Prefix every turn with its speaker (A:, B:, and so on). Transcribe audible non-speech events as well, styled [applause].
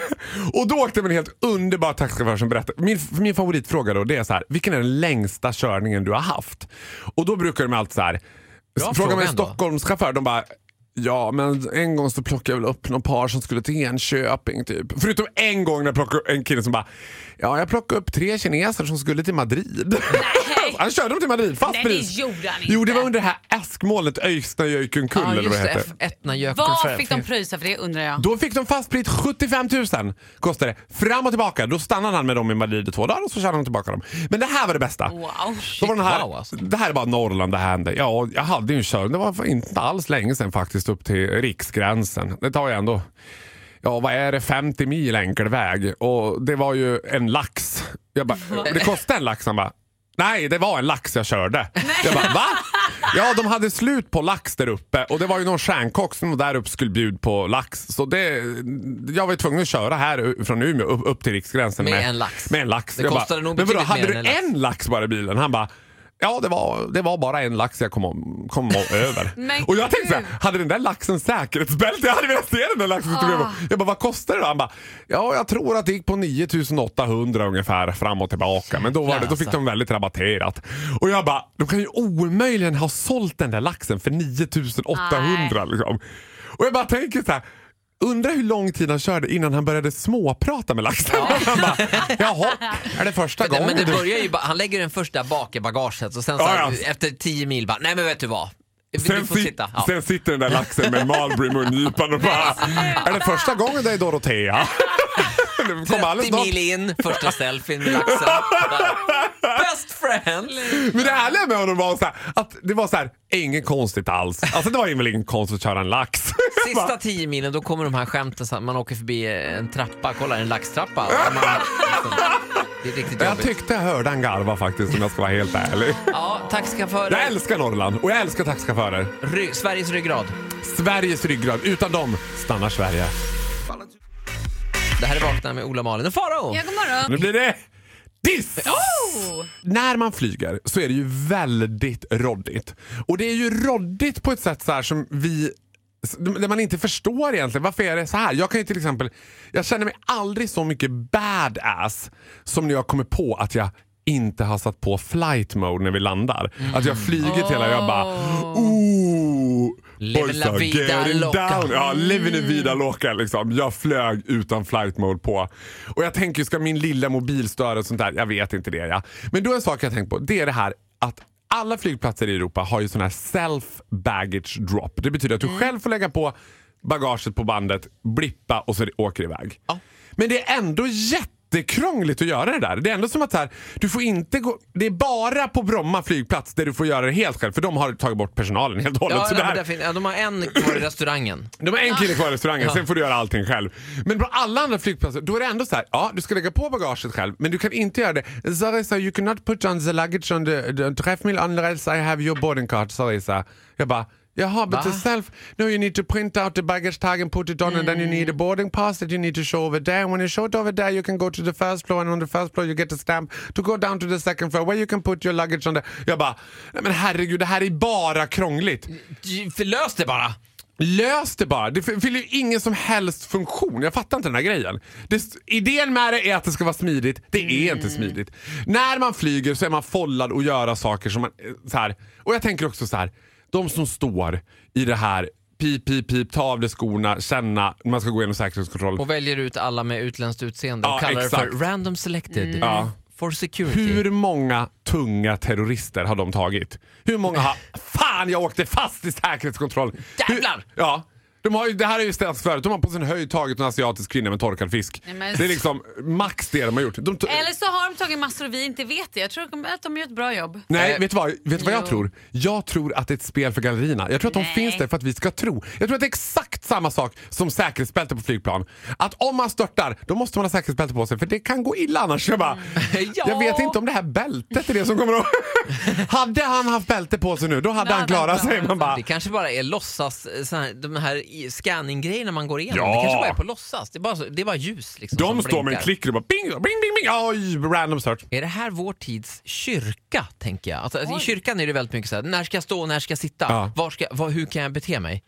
A: [laughs] Och då åkte jag med en helt underbar taxichaufför som berättade. Min, min favoritfråga då det är så här, vilken är den längsta körningen du har haft? Och då brukar de alltid så här, fråga
B: Bra fråga
A: mig en
B: ändå.
A: Stockholmschaufför, de bara Ja, men en gång så plockade jag väl upp någon par som skulle till Enköping. Typ. Förutom en gång när jag plockade upp en kille som bara, ja jag plockade upp tre kineser som skulle till Madrid. [laughs] han körde dem till Madrid, fast
C: Nej, det
A: pris.
C: gjorde han
A: Jo, det
C: inte.
A: var under det här askmolnet Öjsnajöjkunkull
B: Ja,
A: eller vad
B: just
A: det
B: det.
A: hette.
B: F- Etna Jökull.
C: Vad fick de pröjsa för det undrar jag?
A: Då fick de fast pris 75 000 kostade det. Fram och tillbaka. Då stannade han med dem i Madrid i två dagar och så körde han tillbaka dem. Men det här var det bästa.
C: Wow.
A: Då var den här,
B: wow, alltså.
A: Det här är bara Norrland det här hände. Ja, jag hade ju en körning. Det var inte alls länge sedan faktiskt upp till riksgränsen. Det tar jag ändå. Ja, vad är det? 50 mil enkel väg. Och det var ju en lax. Jag
B: [laughs]
A: bara, det kostade en lax. Han bara, nej det var en lax jag körde. Jag bara, va? Ja, de hade slut på lax där uppe och det var ju någon stjärnkock som där uppe skulle bjuda på lax. Så det, jag var ju tvungen att köra här från Umeå upp, upp till riksgränsen.
B: Med en lax.
A: Med en lax.
B: Det
A: Jag
B: kostade nog
A: men vadå,
B: betydligt
A: hade
B: mer
A: du en
B: än en lax?"
A: en lax bara i bilen. Han bara Ja, det var, det var bara en lax jag kom, om, kom
B: [laughs]
A: om över.
C: Men
A: och jag tänkte så här, hade den där laxen säkerhetsbälte? Jag hade velat se den där laxen. som tog
B: Ah.
A: över. Jag bara, vad kostar det då? Han bara, ja jag tror att det gick på 9800 ungefär fram och tillbaka. Men då, var det, då fick de väldigt rabatterat. Och jag bara, de kan ju omöjligen ha sålt den där laxen för 9800 liksom. Och jag bara tänker så här, Undrar hur lång tid han körde innan han började småprata med laxen. [laughs] Han bara, Jaha, är det första
B: Men det-
A: gången?
B: Men det
A: du-
B: börjar ju bara, han lägger den första bak i bagaget och sen så
A: Ja,
B: här,
A: ja.
B: efter tio mil bara, nej men vet du vad? Du
A: Sen,
B: får
A: sit-
B: sitta. Ja.
A: sen sitter den där laxen med Marlboro i mungipan och bara Är det första gången det är Dorotea? [laughs] Det kom alldeles
B: 30
A: snart.
B: mil in, första selfien med laxen. Bara, Best friends!
A: Men det härliga med honom var så här, att det var så här, inget konstigt alls. Alltså det var ju väl inget konstigt att köra en lax.
B: [laughs] Sista 10 milen då kommer de här skämten, så att man åker förbi en trappa, kolla en laxtrappa. Och man, det är riktigt
A: Jag
B: jobbigt.
A: tyckte jag hörde han garva faktiskt om jag ska vara helt ärlig.
B: Ja,
A: Jag
B: taxichaufförer,
A: älskar Norrland och jag älskar taxichaufförer.
B: ry- Sveriges ryggrad.
A: Sveriges ryggrad. Utan dem stannar Sverige.
B: Det här är Vakna med Ola Malin och Farao.
C: Ja, god morgon.
A: Nu blir det diss! När man flyger så är det ju väldigt råddigt. Och det är ju råddigt på ett sätt så här som vi där man inte förstår egentligen. Varför är det så här? Jag kan ju till exempel, jag känner mig aldrig så mycket badass som när jag kommer på att jag inte har satt på flight mode när vi landar. Att jag flyger till hela jag bara ooh,
B: Live
A: boys
B: la
A: are
B: vida
A: getting
B: loca."
A: down. Ja, living in vida loca liksom. Jag flög utan flight mode på. Och jag tänker, ska min lilla mobil störa och sånt där? Jag vet inte det. Ja. Men då en sak jag tänkt på, det är det här att alla flygplatser i Europa har ju sån här self baggage drop. Det betyder att
B: Mm.
A: du själv får lägga på bagaget på bandet, blippa och så åker det iväg. Men det är ändå jättekrångligt att göra det där. Det är ändå som att så här, du får inte gå, det är bara på Bromma flygplats där du får göra det helt själv för de har tagit bort personalen helt och hållet.
B: Ja,
A: så
B: nej,
A: det
B: men
A: här-
B: där fin- ja, de har en kvar i restaurangen.
A: det var en kille kvar i restaurangen, sen får du göra allting själv. Men på alla andra flygplatser, då är det ändå så här, ja du ska lägga på bagaget själv, men du kan inte göra det. Sorry sir, you cannot put on the luggage on the, the träffmil unless I have your boarding card. Sorry sir. Jag bara, jaha but the self, no you need to print out the baggage tag and put it on and then you need a boarding pass that you need to show over there. And when you show it over there you can go to the first floor and on the first floor you get a stamp to go down to the second floor where you can put your luggage on the... Jag bara, nej men herregud det här är bara krångligt.
B: J- för Lös det bara!
A: Lös det bara. Det f- fyller ju ingen som helst funktion. Jag fattar inte den här grejen. Det, s- idén med det är att det ska vara smidigt. Det är inte smidigt. När man flyger så är man follad och göra saker som man... eh, Så här. Och jag tänker också så här. De som står i det här pip, pip, pip, ta av dig skorna, känna, man ska gå igenom säkerhetskontrollen.
B: Och väljer ut alla med utländskt utseende
A: Ja,
B: och kallar det
A: exakt. Mm.
B: för random selected. For security.
A: Hur många tunga terrorister har de tagit? Hur många har... Fan, jag åkte fast i säkerhetskontroll!
B: Jävlar!
A: Hur, ja. De har ju, det här är ju ställts förut. De har på sin höjd tagit en asiatisk kvinna med torkad fisk.
C: Nej, men-
A: Det är liksom max det de har gjort. De to-
C: Eller så har de tagit massor och vi inte vet det. Jag tror att de- att de gör ett bra jobb.
A: Nej,
B: Eh,
A: vet du vad, vet du vad jag
C: jo.
A: tror? Jag tror att det är ett spel för gallerierna. Jag tror att de
C: Nej.
A: finns där för att vi ska tro. Jag tror att det är exakt samma sak som säkerhetsbälte på flygplan. Att om man störtar, då måste man ha säkerhetsbälte på sig för det kan gå illa annars. Jag, bara,
B: Ja.
A: [laughs] jag vet inte om det här bältet är det som kommer att... [laughs] hade han haft bälte på sig nu, då hade
C: Då
A: han
C: hade han
A: klarat sig.
C: klarat
A: Man bara,
B: Det kanske bara är låtsas, eh, så här, de här i- scanninggrejerna man går igenom.
A: Ja.
B: Det kanske bara är på låtsas. Det är bara, så- det är bara ljus liksom, som
A: de står med en
B: blinkar.
A: klicker och bara bing, bing, bing, bing. Oj, random search.
B: Är det här vår tids kyrka, tänker jag? Alltså, I kyrkan är det väldigt mycket så här, när ska jag stå, när ska jag sitta,
A: Ja.
B: var ska, var, hur kan jag bete mig?